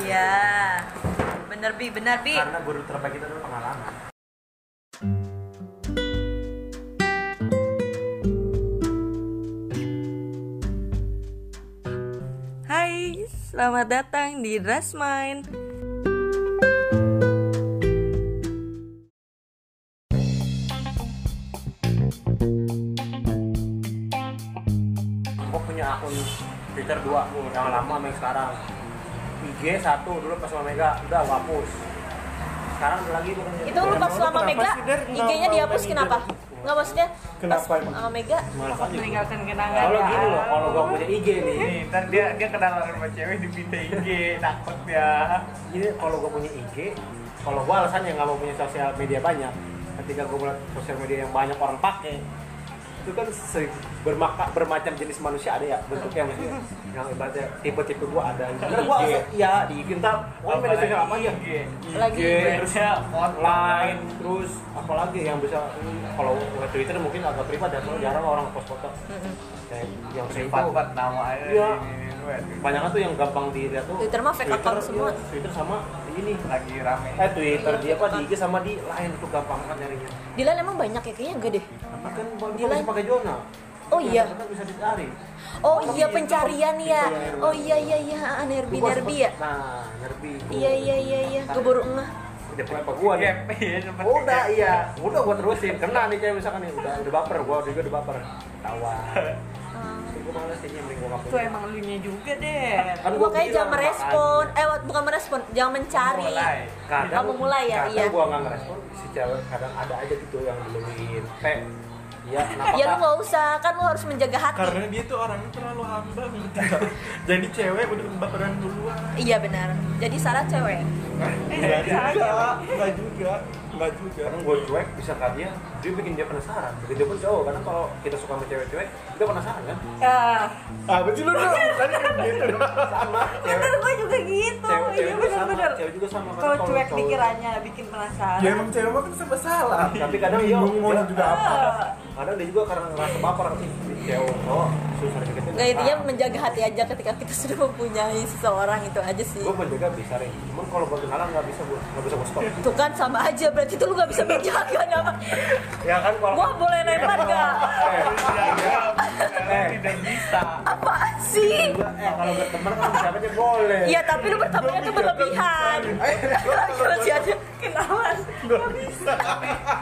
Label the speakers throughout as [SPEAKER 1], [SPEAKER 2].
[SPEAKER 1] Iya. bener bi bener bi
[SPEAKER 2] karena guru terbaik itu adalah pengalaman
[SPEAKER 1] Hai selamat datang di Rasmain
[SPEAKER 2] gue punya akun Twitter dua tuh yang lama sama yang sekarang IG satu dulu pas sama Mega udah gua hapus sekarang ada lagi tuh kan
[SPEAKER 3] Itu lu pas lama
[SPEAKER 4] kenapa
[SPEAKER 3] Mega,
[SPEAKER 4] sih, Der? Kenapa
[SPEAKER 3] IG-nya dihapus
[SPEAKER 4] main
[SPEAKER 3] kenapa? Enggak maksudnya pas
[SPEAKER 4] Kenapa emang?
[SPEAKER 3] sama Mega
[SPEAKER 2] malas aja
[SPEAKER 1] meninggalkan kenangan
[SPEAKER 2] kalau gini loh kalau gua punya IG nih
[SPEAKER 4] Nih, ya. ntar dia dia kenalan sama cewek di IG, takut ya.
[SPEAKER 2] jadi kalau gua punya IG kalau gua alasannya nggak mau punya sosial media banyak ketika gua melihat sosial media yang banyak orang pakai itu kan se- bermaka, bermacam jenis manusia ada ya bentuk yang yang ibaratnya tipe-tipe gua ada karena gua
[SPEAKER 4] IG.
[SPEAKER 2] iya di IG entar oh media sosial apa ya
[SPEAKER 4] IG?
[SPEAKER 3] Lagi.
[SPEAKER 4] terusnya online.
[SPEAKER 2] online terus apalagi yang bisa kalau nge- Twitter mungkin agak privat ya kalau jarang orang post foto kayak yang privat
[SPEAKER 4] Empat empat nama aja.
[SPEAKER 2] Iya.
[SPEAKER 4] ini, ini, ini, ini.
[SPEAKER 2] banyak tuh yang gampang dilihat tuh
[SPEAKER 3] Twitter mah fake account semua.
[SPEAKER 2] iya, Twitter sama ini
[SPEAKER 4] Lagi rame.
[SPEAKER 2] eh Twitter dia apa di IG sama di lain tuh gampang banget nyarinya
[SPEAKER 3] Dilan emang banyak ya kayaknya enggak deh.
[SPEAKER 2] tapi kan kalau
[SPEAKER 3] Di
[SPEAKER 2] dia bisa
[SPEAKER 3] Line.
[SPEAKER 2] pakai zona
[SPEAKER 3] Oh iya.
[SPEAKER 2] kan bisa dicari
[SPEAKER 3] Oh iya pencarian ya.
[SPEAKER 2] Pencarian.
[SPEAKER 3] Oh iya iya iya ah, nerbi
[SPEAKER 2] Gua
[SPEAKER 3] nerbi
[SPEAKER 2] sempet-
[SPEAKER 3] ya.
[SPEAKER 2] nah nerbi
[SPEAKER 3] Iya iya iya iya keburu ngeh.
[SPEAKER 2] udah apa gua nih
[SPEAKER 4] Gap, iya, sempet
[SPEAKER 2] udah
[SPEAKER 4] gap.
[SPEAKER 2] iya udah gua terusin kena nih cewek misalkan nih udah udah baper gua juga udah baper tawa
[SPEAKER 3] Hmm.
[SPEAKER 2] gua males sih mending gua nggak
[SPEAKER 1] itu
[SPEAKER 2] punya.
[SPEAKER 1] emang lu nya juga deh
[SPEAKER 2] Kan gua
[SPEAKER 3] Makanya
[SPEAKER 2] bilang,
[SPEAKER 3] jangan merespon.
[SPEAKER 2] makanya.
[SPEAKER 3] Eh bukan merespon, jangan mencari.
[SPEAKER 4] Mulai.
[SPEAKER 2] kadang
[SPEAKER 3] Kamu mulai ya,
[SPEAKER 2] kadang
[SPEAKER 3] iya.
[SPEAKER 2] gua nggak ngerespon si cewek kadang ada aja gitu yang duluin teh ya kenapa
[SPEAKER 3] Ya lu
[SPEAKER 2] Kak?
[SPEAKER 3] nggak usah, kan lu harus menjaga hati.
[SPEAKER 4] Karena dia tuh orangnya terlalu hambang gitu. Jadi cewek udah kebakaran duluan.
[SPEAKER 3] Iya benar. Jadi salah cewek.
[SPEAKER 4] Eh, Enggak juga, enggak juga, enggak juga.
[SPEAKER 2] kadang gue cuek bisa nggak dia dia bikin dia penasaran bikin dia pun cowok karena kalau kita suka sama cewek-cewek kita penasaran kan
[SPEAKER 1] ya
[SPEAKER 4] Ah, betul lu dong. Kan gitu.
[SPEAKER 2] sama
[SPEAKER 1] bener gue juga
[SPEAKER 3] Oh,
[SPEAKER 1] gitu
[SPEAKER 2] cewek,
[SPEAKER 1] iya
[SPEAKER 2] cewek juga
[SPEAKER 1] bener
[SPEAKER 2] sama
[SPEAKER 1] bener
[SPEAKER 2] cewek juga sama Karena
[SPEAKER 1] kalau cuek
[SPEAKER 2] cowok- Iya.
[SPEAKER 1] pikirannya bikin penasaran
[SPEAKER 4] Ya emang cewek mah kan serba salah.
[SPEAKER 2] Tapi kadang iya,
[SPEAKER 4] bingung mau
[SPEAKER 2] iya.
[SPEAKER 4] juga apa.
[SPEAKER 1] Eh,
[SPEAKER 2] kadang dia juga karena ngerasa baper sih Di cewek cowok susah ya. deketin
[SPEAKER 3] Nggak intinya
[SPEAKER 4] Ah.
[SPEAKER 3] menjaga hati aja ketika kita sudah mempunyai seseorang itu aja sih.
[SPEAKER 2] gue menjaga bisa nih cuman kalau gue kenalan nggak bisa gue nggak bisa gue stop
[SPEAKER 3] Itu kan sama aja berarti itu lu gak bisa menjaga nama.
[SPEAKER 2] ya kan kalau
[SPEAKER 3] Gua boleh lempar gak?
[SPEAKER 2] Eh,
[SPEAKER 4] Karena tidak Ah, bisa.
[SPEAKER 3] Apaan sih?
[SPEAKER 2] gua- eh, kalau berteman kan siapa aja boleh
[SPEAKER 3] Iya tapi lu bertemannya tuh berlebihan. Masih aja.
[SPEAKER 1] kenalan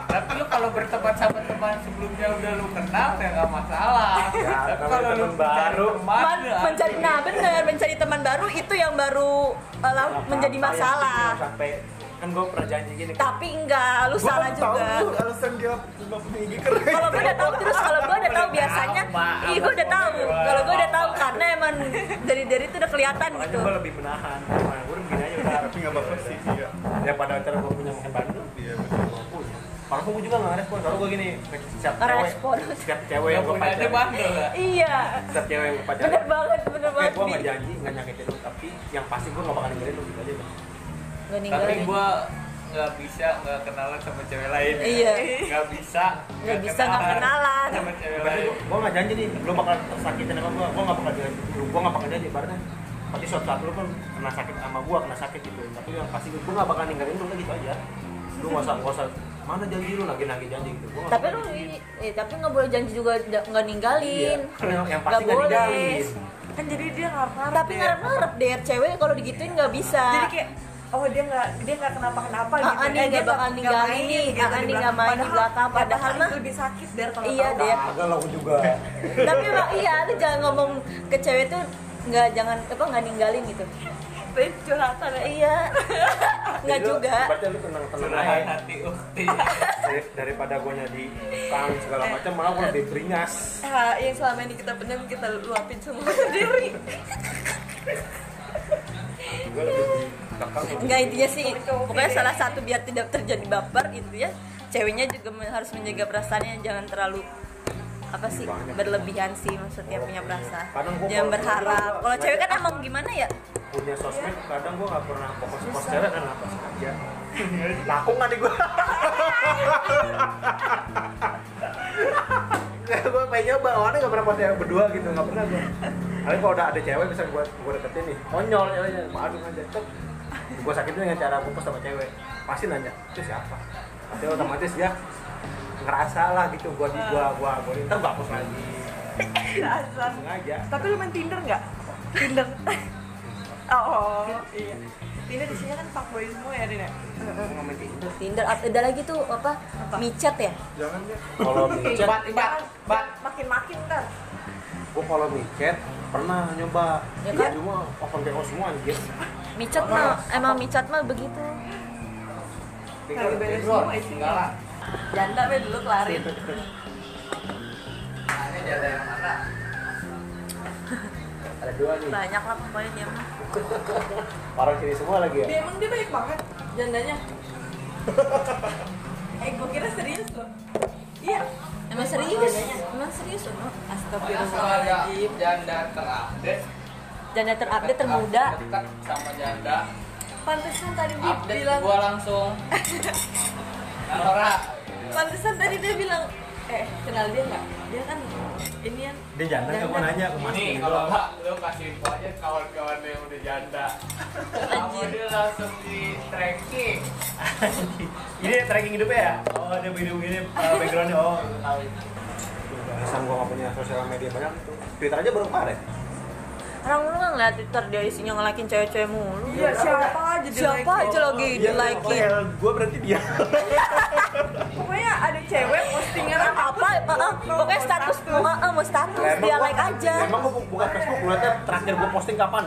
[SPEAKER 4] Tapi lu kalau berteman sama teman sebelumnya udah lu kenal ya nggak masalah.
[SPEAKER 2] Ya,
[SPEAKER 4] Tapi
[SPEAKER 2] namanya
[SPEAKER 4] kalau lu
[SPEAKER 2] teman
[SPEAKER 4] baru
[SPEAKER 2] baru.
[SPEAKER 4] teman
[SPEAKER 3] Man-
[SPEAKER 4] ya,
[SPEAKER 3] mencari nah bener mencari teman baru itu yang baru eh, lah,
[SPEAKER 2] Nggak apa-apa,
[SPEAKER 3] menjadi
[SPEAKER 2] yang penting
[SPEAKER 3] masalah.
[SPEAKER 2] jangan sampai kan gue pernah janji gini
[SPEAKER 3] Tapi enggak, lu
[SPEAKER 4] gua
[SPEAKER 3] salah
[SPEAKER 4] kan
[SPEAKER 3] juga.
[SPEAKER 4] tahu tuh alasan dia nggak punya IG keren.
[SPEAKER 3] Kalau gue udah tahu terus kalau gue udah tahu biasanya,
[SPEAKER 4] Apa?
[SPEAKER 3] iya gue udah tahu.
[SPEAKER 4] Apa?
[SPEAKER 3] Kalau gue udah tahu karena emang dari dari itu udah kelihatan
[SPEAKER 2] makanya
[SPEAKER 3] gitu.
[SPEAKER 2] gue lebih menahan Nah, gue begini aja udah
[SPEAKER 4] Tapi nggak apa-apa sih dia.
[SPEAKER 2] daripada cara gue punya makan bandel
[SPEAKER 4] Iya betul.
[SPEAKER 2] Parfum gue juga nggak respon, kalau gue gini Setiap
[SPEAKER 3] Ngerespon.
[SPEAKER 2] cewek, setiap cewek
[SPEAKER 4] Yang
[SPEAKER 2] yang gue
[SPEAKER 4] punya aja
[SPEAKER 2] pacarin
[SPEAKER 4] bandel lah.
[SPEAKER 3] Iya,
[SPEAKER 2] Setiap cewek yang gue pacarin
[SPEAKER 3] bener banget, bener
[SPEAKER 2] Eh,
[SPEAKER 3] banget.
[SPEAKER 2] gue nggak
[SPEAKER 3] Bi.
[SPEAKER 2] janji, nggak nyakitin lu Tapi yang pasti gue nggak bakal ninggalin lu gitu aja Bang.
[SPEAKER 3] Gak
[SPEAKER 4] Tapi
[SPEAKER 3] ninggalin.
[SPEAKER 4] gua nggak bisa nggak kenalan sama cewek lain. ya.
[SPEAKER 3] Iya.
[SPEAKER 4] Nggak bisa.
[SPEAKER 3] Nggak bisa nggak kenalan.
[SPEAKER 4] Sama cewek
[SPEAKER 2] Berarti
[SPEAKER 4] lain.
[SPEAKER 2] gue nggak janji nih, lu bakal tersakitin sama gue Gue nggak bakal janji, gue nggak bakal janji Ibaratnya Tapi suatu saat lu pun kena sakit sama gue, kena sakit gitu Tapi yang pasti gue nggak bakal ninggalin lu udah gitu aja Lu nggak usah, nggak usah Mana janji lu lagi-lagi janji gitu Gua nggak
[SPEAKER 3] Tapi
[SPEAKER 2] bakal
[SPEAKER 3] lu
[SPEAKER 2] janji.
[SPEAKER 3] ini- eh, tapi nggak boleh janji juga da- nggak ninggalin.
[SPEAKER 2] Iya. Yang- yang pasti nggak
[SPEAKER 3] Nggak boleh. Eh.
[SPEAKER 2] ninggalin.
[SPEAKER 1] kan jadi dia ngarep ngarep
[SPEAKER 3] Tapi ngarep-ngarep deh cewek kalau digituin nggak bisa.
[SPEAKER 1] jadi kayak oh dia nggak dia nggak kenapa-kenapa
[SPEAKER 3] Ah,
[SPEAKER 1] gitu Eh,
[SPEAKER 3] Ani nggak
[SPEAKER 1] dia
[SPEAKER 3] bakal
[SPEAKER 1] nggak
[SPEAKER 3] ninggalin
[SPEAKER 1] main
[SPEAKER 3] nih.
[SPEAKER 1] gitu
[SPEAKER 3] Ah,
[SPEAKER 1] di
[SPEAKER 3] Ani
[SPEAKER 1] belakang.
[SPEAKER 3] nggak main di belakang. Padahal
[SPEAKER 1] itu
[SPEAKER 3] mah-
[SPEAKER 1] lebih sakit dari kalau
[SPEAKER 3] Iya,
[SPEAKER 1] tahu.
[SPEAKER 3] deh.
[SPEAKER 2] Kagak lah Ah, aku juga
[SPEAKER 3] Tapi emang iya lu jangan ngomong ke cewek tuh nggak jangan apa nggak ninggalin gitu.
[SPEAKER 1] Tapi curhatan ya.
[SPEAKER 3] Iya.
[SPEAKER 2] Jadi
[SPEAKER 3] Nggak
[SPEAKER 2] lu-
[SPEAKER 3] juga.
[SPEAKER 2] Berarti lu tenang-tenang aja
[SPEAKER 4] Curahan hati oh, iya. ukti.
[SPEAKER 2] Dari- Daripada gue nyadi kang segala macam malah gue lebih beringas
[SPEAKER 1] Eh, yang selama ini kita pendam kita luapin semua sendiri
[SPEAKER 2] Gue lebih kekang
[SPEAKER 3] Enggak intinya sih pokoknya salah satu biar tidak terjadi baper intinya ceweknya juga men- harus menjaga perasaannya jangan terlalu apa sih berlebihan sih maksudnya punya perasaan
[SPEAKER 2] Kadang gua
[SPEAKER 3] jangan
[SPEAKER 2] kalau- Nah,
[SPEAKER 3] berharap
[SPEAKER 2] gua-
[SPEAKER 3] kalau cewek kan emang gimana ya
[SPEAKER 2] punya sosmed kadang gue gak pernah fokus fokus cewek karena apa sengaja lakung adik gue gue Ya, pengen nyoba awalnya gak pernah fokus cewek berdua gitu gak pernah gue Tapi kalau udah ada cewek bisa gue gue deketin nih konyol ceweknya aduh aja cek gue sakitnya dengan cara gue sama cewek pasti nanya itu siapa tapi otomatis dia ngerasa lah gitu gue di gua gua gua ntar gua hapus lagi
[SPEAKER 1] Dasar.
[SPEAKER 2] sengaja
[SPEAKER 1] Tapi lu main Tinder nggak? Tinder. oh, iya. Tinder di sini kan fuckboy semua ya, Dina.
[SPEAKER 2] ngomongin Tinder.
[SPEAKER 3] Tinder ada lagi tuh apa? Micat ya?
[SPEAKER 5] jangan ya
[SPEAKER 2] kalau micet
[SPEAKER 4] Bat, bat, bat.
[SPEAKER 1] makin-makin ntar.
[SPEAKER 2] gue kalau micet pernah nyoba Iya,
[SPEAKER 3] Ya kan?
[SPEAKER 2] cuma open BO semua anjir
[SPEAKER 3] Micat mah emang micat mah begitu.
[SPEAKER 1] Lagi beres
[SPEAKER 4] Bro,
[SPEAKER 1] semua isinya.
[SPEAKER 4] enggak lah.
[SPEAKER 3] Janda be dulu kelarin.
[SPEAKER 4] Ini jalan yang mana?
[SPEAKER 2] ada dua nih
[SPEAKER 3] Banyak lah pokoknya dia mah.
[SPEAKER 2] orang sini semua lagi ya
[SPEAKER 1] Dia emang dia baik banget jandanya. eh, gue kira serius loh. Iya.
[SPEAKER 3] Emang serius? Emang serius Uno?
[SPEAKER 4] Asal ada janda terupdate.
[SPEAKER 3] Janda terupdate termuda.
[SPEAKER 4] Dekat sama janda.
[SPEAKER 1] Pantesan tadi dia
[SPEAKER 4] Update
[SPEAKER 1] bilang,
[SPEAKER 4] gua langsung. Nah, Nora.
[SPEAKER 1] pantesan tadi dia bilang, eh kenal dia nggak? Dia kan ini yang
[SPEAKER 2] dia jantan
[SPEAKER 1] Jantan.
[SPEAKER 2] gue nanya ke mas
[SPEAKER 4] Ini kalau enggak lu kasih info aja kawan-kawan yang udah janda. Kamu
[SPEAKER 3] Anjir.
[SPEAKER 4] dia langsung di tracking.
[SPEAKER 2] ini tracking hidupnya ya oh dia hidup ini
[SPEAKER 4] eh,
[SPEAKER 2] uh, backgroundnya oh Alasan gua gak punya sosial media banyak itu Twitter aja baru kemarin
[SPEAKER 3] Orang lu nggak ngeliat Twitter dia isinya ngelakin cewek-cewek mulu.
[SPEAKER 1] Iya, siapa aja dia Iya,
[SPEAKER 3] Siapa
[SPEAKER 1] like
[SPEAKER 3] aja
[SPEAKER 1] lo.
[SPEAKER 3] lagi di like
[SPEAKER 2] gue Iya, oh, berarti dia
[SPEAKER 1] Pokoknya ada cewek postingan
[SPEAKER 3] Apa apa? eh, Pokoknya status mau eh, mau status dia like aja.
[SPEAKER 2] Emang gue buka Facebook, ngeliatnya terakhir gue posting kapan?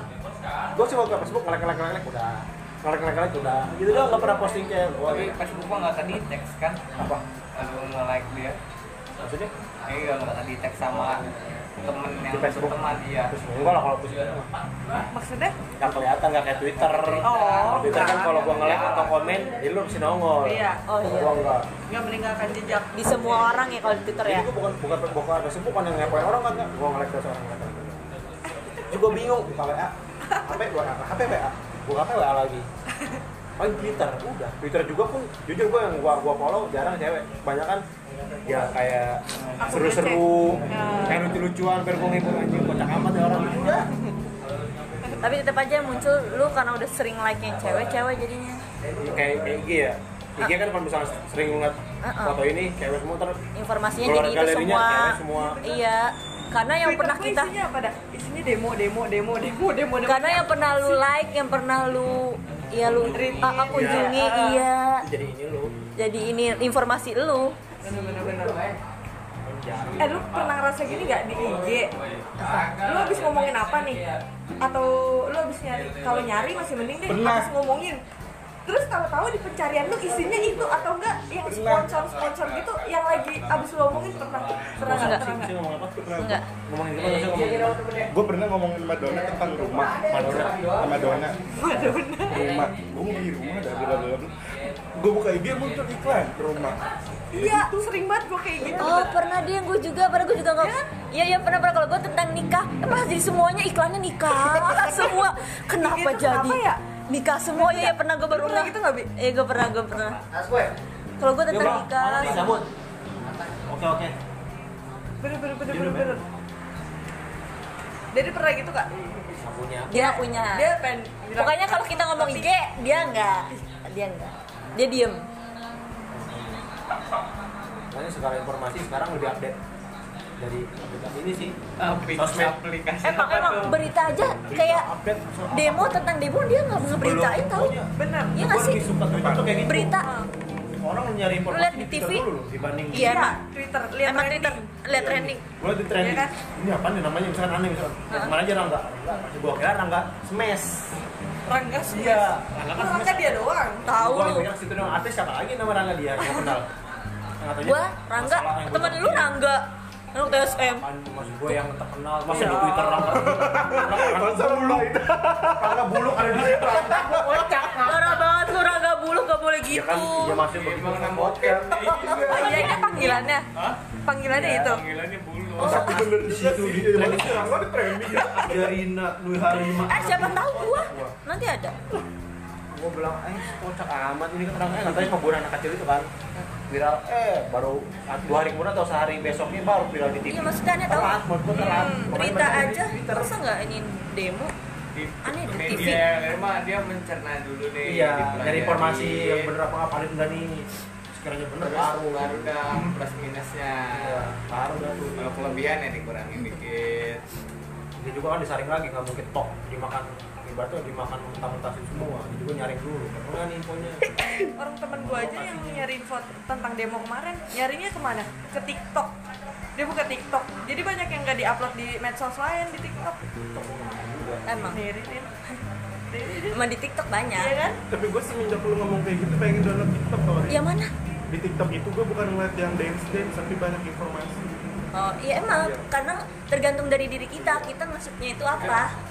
[SPEAKER 2] Gue cuma buka Facebook, ngelek ngelek ngelek udah ngelek ngelek ngelek udah gitu doang gak pernah posting kayak gue
[SPEAKER 4] Tapi Facebook gua enggak kedetek kan.
[SPEAKER 2] apa?
[SPEAKER 4] Lalu nge-like dia.
[SPEAKER 2] Maksudnya?
[SPEAKER 4] Ini enggak enggak kedetek sama temen yang
[SPEAKER 2] Oh. Di Facebook?
[SPEAKER 4] teman dia.
[SPEAKER 2] Terus enggak lah kalau Facebook
[SPEAKER 1] Maksudnya?
[SPEAKER 2] Gak kelihatan, gak kayak Twitter
[SPEAKER 1] Oh.
[SPEAKER 2] Twitter kan kalau gue ngelek atau komen, ya lu mesti nongol
[SPEAKER 1] Iya.
[SPEAKER 3] Oh iya.
[SPEAKER 2] Gue enggak
[SPEAKER 1] Nggak meninggalkan jejak.
[SPEAKER 3] Di semua orang ya kalau di Twitter
[SPEAKER 2] Jadi
[SPEAKER 3] ya.
[SPEAKER 2] gue bukan bukan bukan Facebook bukan yang ngepoin orang kan gue ngelek terus orang ngelek ngelek. Juga bingung buka WA, HP gue HP WA, buka HP WA lagi. Oh Twitter, udah. Twitter juga pun jujur gue yang gua gua follow jarang cewek, banyak kan ya kayak seru-seru, kayak lucu-lucuan, biar gue ngikut anjing kocak amat ya orang udah.
[SPEAKER 3] Tapi tetap aja yang muncul lu karena udah sering like nya cewek-cewek jadinya.
[SPEAKER 2] Kayak kayak IG ya, IG kan kalau misalnya sering ngeliat
[SPEAKER 3] Uh-uh.
[SPEAKER 2] foto ini cewek semua ter
[SPEAKER 3] Informasinya
[SPEAKER 2] Keluar
[SPEAKER 3] jadi itu
[SPEAKER 2] galerinya
[SPEAKER 3] semua.
[SPEAKER 2] cewek semua.
[SPEAKER 3] Iya. Karena yang
[SPEAKER 1] Twitter
[SPEAKER 3] pernah
[SPEAKER 1] tuh
[SPEAKER 3] kita
[SPEAKER 1] isinya apa dah? Isinya demo, demo, demo, demo, demo, demo.
[SPEAKER 3] karena yang pernah lu like, yang pernah lu ya lu
[SPEAKER 1] Retweet.
[SPEAKER 3] ah, ah, kunjungi
[SPEAKER 1] Iya.
[SPEAKER 3] iya.
[SPEAKER 2] jadi ini lu.
[SPEAKER 3] Jadi ini informasi lu.
[SPEAKER 4] Bener-bener baik.
[SPEAKER 1] Eh lu pernah ngerasa gini nggak di IG? Lu habis ngomongin apa nih? Atau lu habis nyari? Kalau nyari masih mending deh
[SPEAKER 5] Pernah.
[SPEAKER 1] habis ngomongin. Terus tahu-tahu di pencarian lu isinya itu atau enggak yang sponsor sponsor gitu yang lagi abis lu ngomongin pernah pernah nggak?
[SPEAKER 3] Enggak.
[SPEAKER 1] Pernah nggak?
[SPEAKER 2] ngomong apa? Iya,
[SPEAKER 3] Enggak.
[SPEAKER 1] Iya.
[SPEAKER 2] Ngomongin gimana sih ngomongin?
[SPEAKER 5] gue pernah ngomongin Madonna tentang rumah Madonna Madonna rumah gue mau beli rumah dah bla bla bla gue buka IG muncul iklan rumah
[SPEAKER 1] Iya, sering banget gue kayak gitu.
[SPEAKER 3] Oh pernah dia gue juga, pernah gue juga nggak. Iya iya pernah pernah kalau gue tentang nikah, pas jadi semuanya iklannya nikah semua. Kenapa
[SPEAKER 1] Itu kenapa
[SPEAKER 3] jadi
[SPEAKER 1] ya?
[SPEAKER 3] nikah semua? Iya iya pernah gue baru
[SPEAKER 1] Pernah gitu nggak, Bi?
[SPEAKER 3] Iya gue pernah gue pernah. Kalau gue
[SPEAKER 2] Iya,
[SPEAKER 3] tentang nikah,
[SPEAKER 2] Cabut. Oke oke.
[SPEAKER 1] Bener bener bener bener bener. Jadi pernah gitu kak?
[SPEAKER 2] Sabunya.
[SPEAKER 3] dia nggak punya.
[SPEAKER 1] Dia pengen. bilang-
[SPEAKER 3] Pokoknya kalau kita ngomong IG, dia nggak, dia nggak, dia diem.
[SPEAKER 2] Makanya segala informasi sekarang lebih update dari aplikasi ini sih.
[SPEAKER 4] Aplikasi
[SPEAKER 2] Sosmed.
[SPEAKER 4] aplikasi
[SPEAKER 3] Emang
[SPEAKER 4] apa
[SPEAKER 3] emang
[SPEAKER 4] tuh?
[SPEAKER 3] berita aja kayak
[SPEAKER 2] update soal
[SPEAKER 3] demo tentang demo dia nggak ngeberitain tau?
[SPEAKER 1] Bener.
[SPEAKER 3] Iya
[SPEAKER 2] Gua
[SPEAKER 3] nggak sih?
[SPEAKER 2] lebih suka Twitter tuh kayak gitu.
[SPEAKER 3] Berita.
[SPEAKER 2] Orang nyari informasi
[SPEAKER 3] Lihat di
[SPEAKER 2] Twitter
[SPEAKER 3] TV.
[SPEAKER 2] dulu loh, dibanding
[SPEAKER 3] Iya, emang.
[SPEAKER 1] Twitter, lihat
[SPEAKER 3] Emang
[SPEAKER 1] trending.
[SPEAKER 3] Twitter lihat trending.
[SPEAKER 2] Gua liat di trending.
[SPEAKER 1] Iya kan?
[SPEAKER 2] Ini apa nih namanya misalkan aneh misalkan.
[SPEAKER 3] Heeh.
[SPEAKER 2] Kemana aja Rangga? Enggak, pasti gua kira Rangga smash.
[SPEAKER 1] Rangga sih.
[SPEAKER 2] Iya, Rangga kan
[SPEAKER 1] Rangga
[SPEAKER 2] smash.
[SPEAKER 1] dia doang.
[SPEAKER 3] Tahu
[SPEAKER 2] Gua
[SPEAKER 3] lu.
[SPEAKER 2] yang situ dong artis siapa lagi nama Rangga dia yang kenal. Nggak taunya
[SPEAKER 3] Gua Rangga,
[SPEAKER 2] masalah yang gua
[SPEAKER 3] temen lu
[SPEAKER 2] tahu.
[SPEAKER 3] Rangga. Lu TSM.
[SPEAKER 2] Apaan, maksud gue yang terkenal masa
[SPEAKER 1] Iya.
[SPEAKER 2] di Twitter Rangga. Rangga buluk. Rangga buluk ada di Twitter.
[SPEAKER 3] Iya. Parah banget lu Rangga bulu gak boleh
[SPEAKER 2] Iya
[SPEAKER 3] gitu.
[SPEAKER 2] kan, dia masih
[SPEAKER 3] Iya.
[SPEAKER 4] Emang
[SPEAKER 2] bagaimana
[SPEAKER 4] nama
[SPEAKER 2] mau
[SPEAKER 4] bokep.
[SPEAKER 1] Oh, iya, ini panggilannya.
[SPEAKER 4] Hah?
[SPEAKER 1] Panggilannya
[SPEAKER 3] gitu.
[SPEAKER 1] itu.
[SPEAKER 4] Panggilannya bulu.
[SPEAKER 5] bener di situ di trending gue di trending ya
[SPEAKER 2] Darina Nui Harima
[SPEAKER 3] Eh siapa tahu gua. Nanti ada.
[SPEAKER 2] Gue bilang, eh kocak amat ini keterangannya Katanya pembunuhan anak kecil itu kan Viral, eh baru dua hari kemudian atau sehari besoknya baru viral di TV
[SPEAKER 3] Iya maksudnya aneh tahu.
[SPEAKER 2] Telat, menurut gue telat
[SPEAKER 3] Hmm,
[SPEAKER 2] Ya, Pokoknya
[SPEAKER 3] berita
[SPEAKER 2] banyak yang di
[SPEAKER 3] aja.
[SPEAKER 2] Twitter.
[SPEAKER 3] Masa nggak ini demo?
[SPEAKER 4] Iya, di
[SPEAKER 3] Aneh, di TV.
[SPEAKER 4] media ya. memang Eh, dia mencerna dulu nih
[SPEAKER 2] Iya,
[SPEAKER 4] dipelajari.
[SPEAKER 2] dari informasi yang bener apa apa paling enggak nih sekiranya bener
[SPEAKER 4] terus
[SPEAKER 2] baru
[SPEAKER 4] baru dah plus minusnya
[SPEAKER 2] Iya, baru dah tuh.
[SPEAKER 4] kalau kelebihan ya dikurangin dikit
[SPEAKER 2] Dia juga kan disaring lagi nggak mungkin tok dimakan ibaratnya dimakan mentah-mentah semua. Dia juga nyaring dulu. Karena nih infonya.
[SPEAKER 1] orang temen gue aja yang nyari info tentang demo kemarin nyarinya kemana ke TikTok dia buka TikTok jadi banyak yang nggak diupload di medsos lain di TikTok
[SPEAKER 3] emang
[SPEAKER 1] Diririn. Diririn.
[SPEAKER 3] emang di TikTok
[SPEAKER 1] Iya
[SPEAKER 3] banyak
[SPEAKER 1] kan
[SPEAKER 5] Tapi gue semenjak lu ngomong kayak gitu pengen download TikTok tau
[SPEAKER 3] yang Iya, mana
[SPEAKER 5] Di TikTok itu gue bukan ngeliat yang dance dance tapi banyak informasi.
[SPEAKER 3] Iya, oh iya emang karena tergantung dari diri kita kita maksudnya itu apa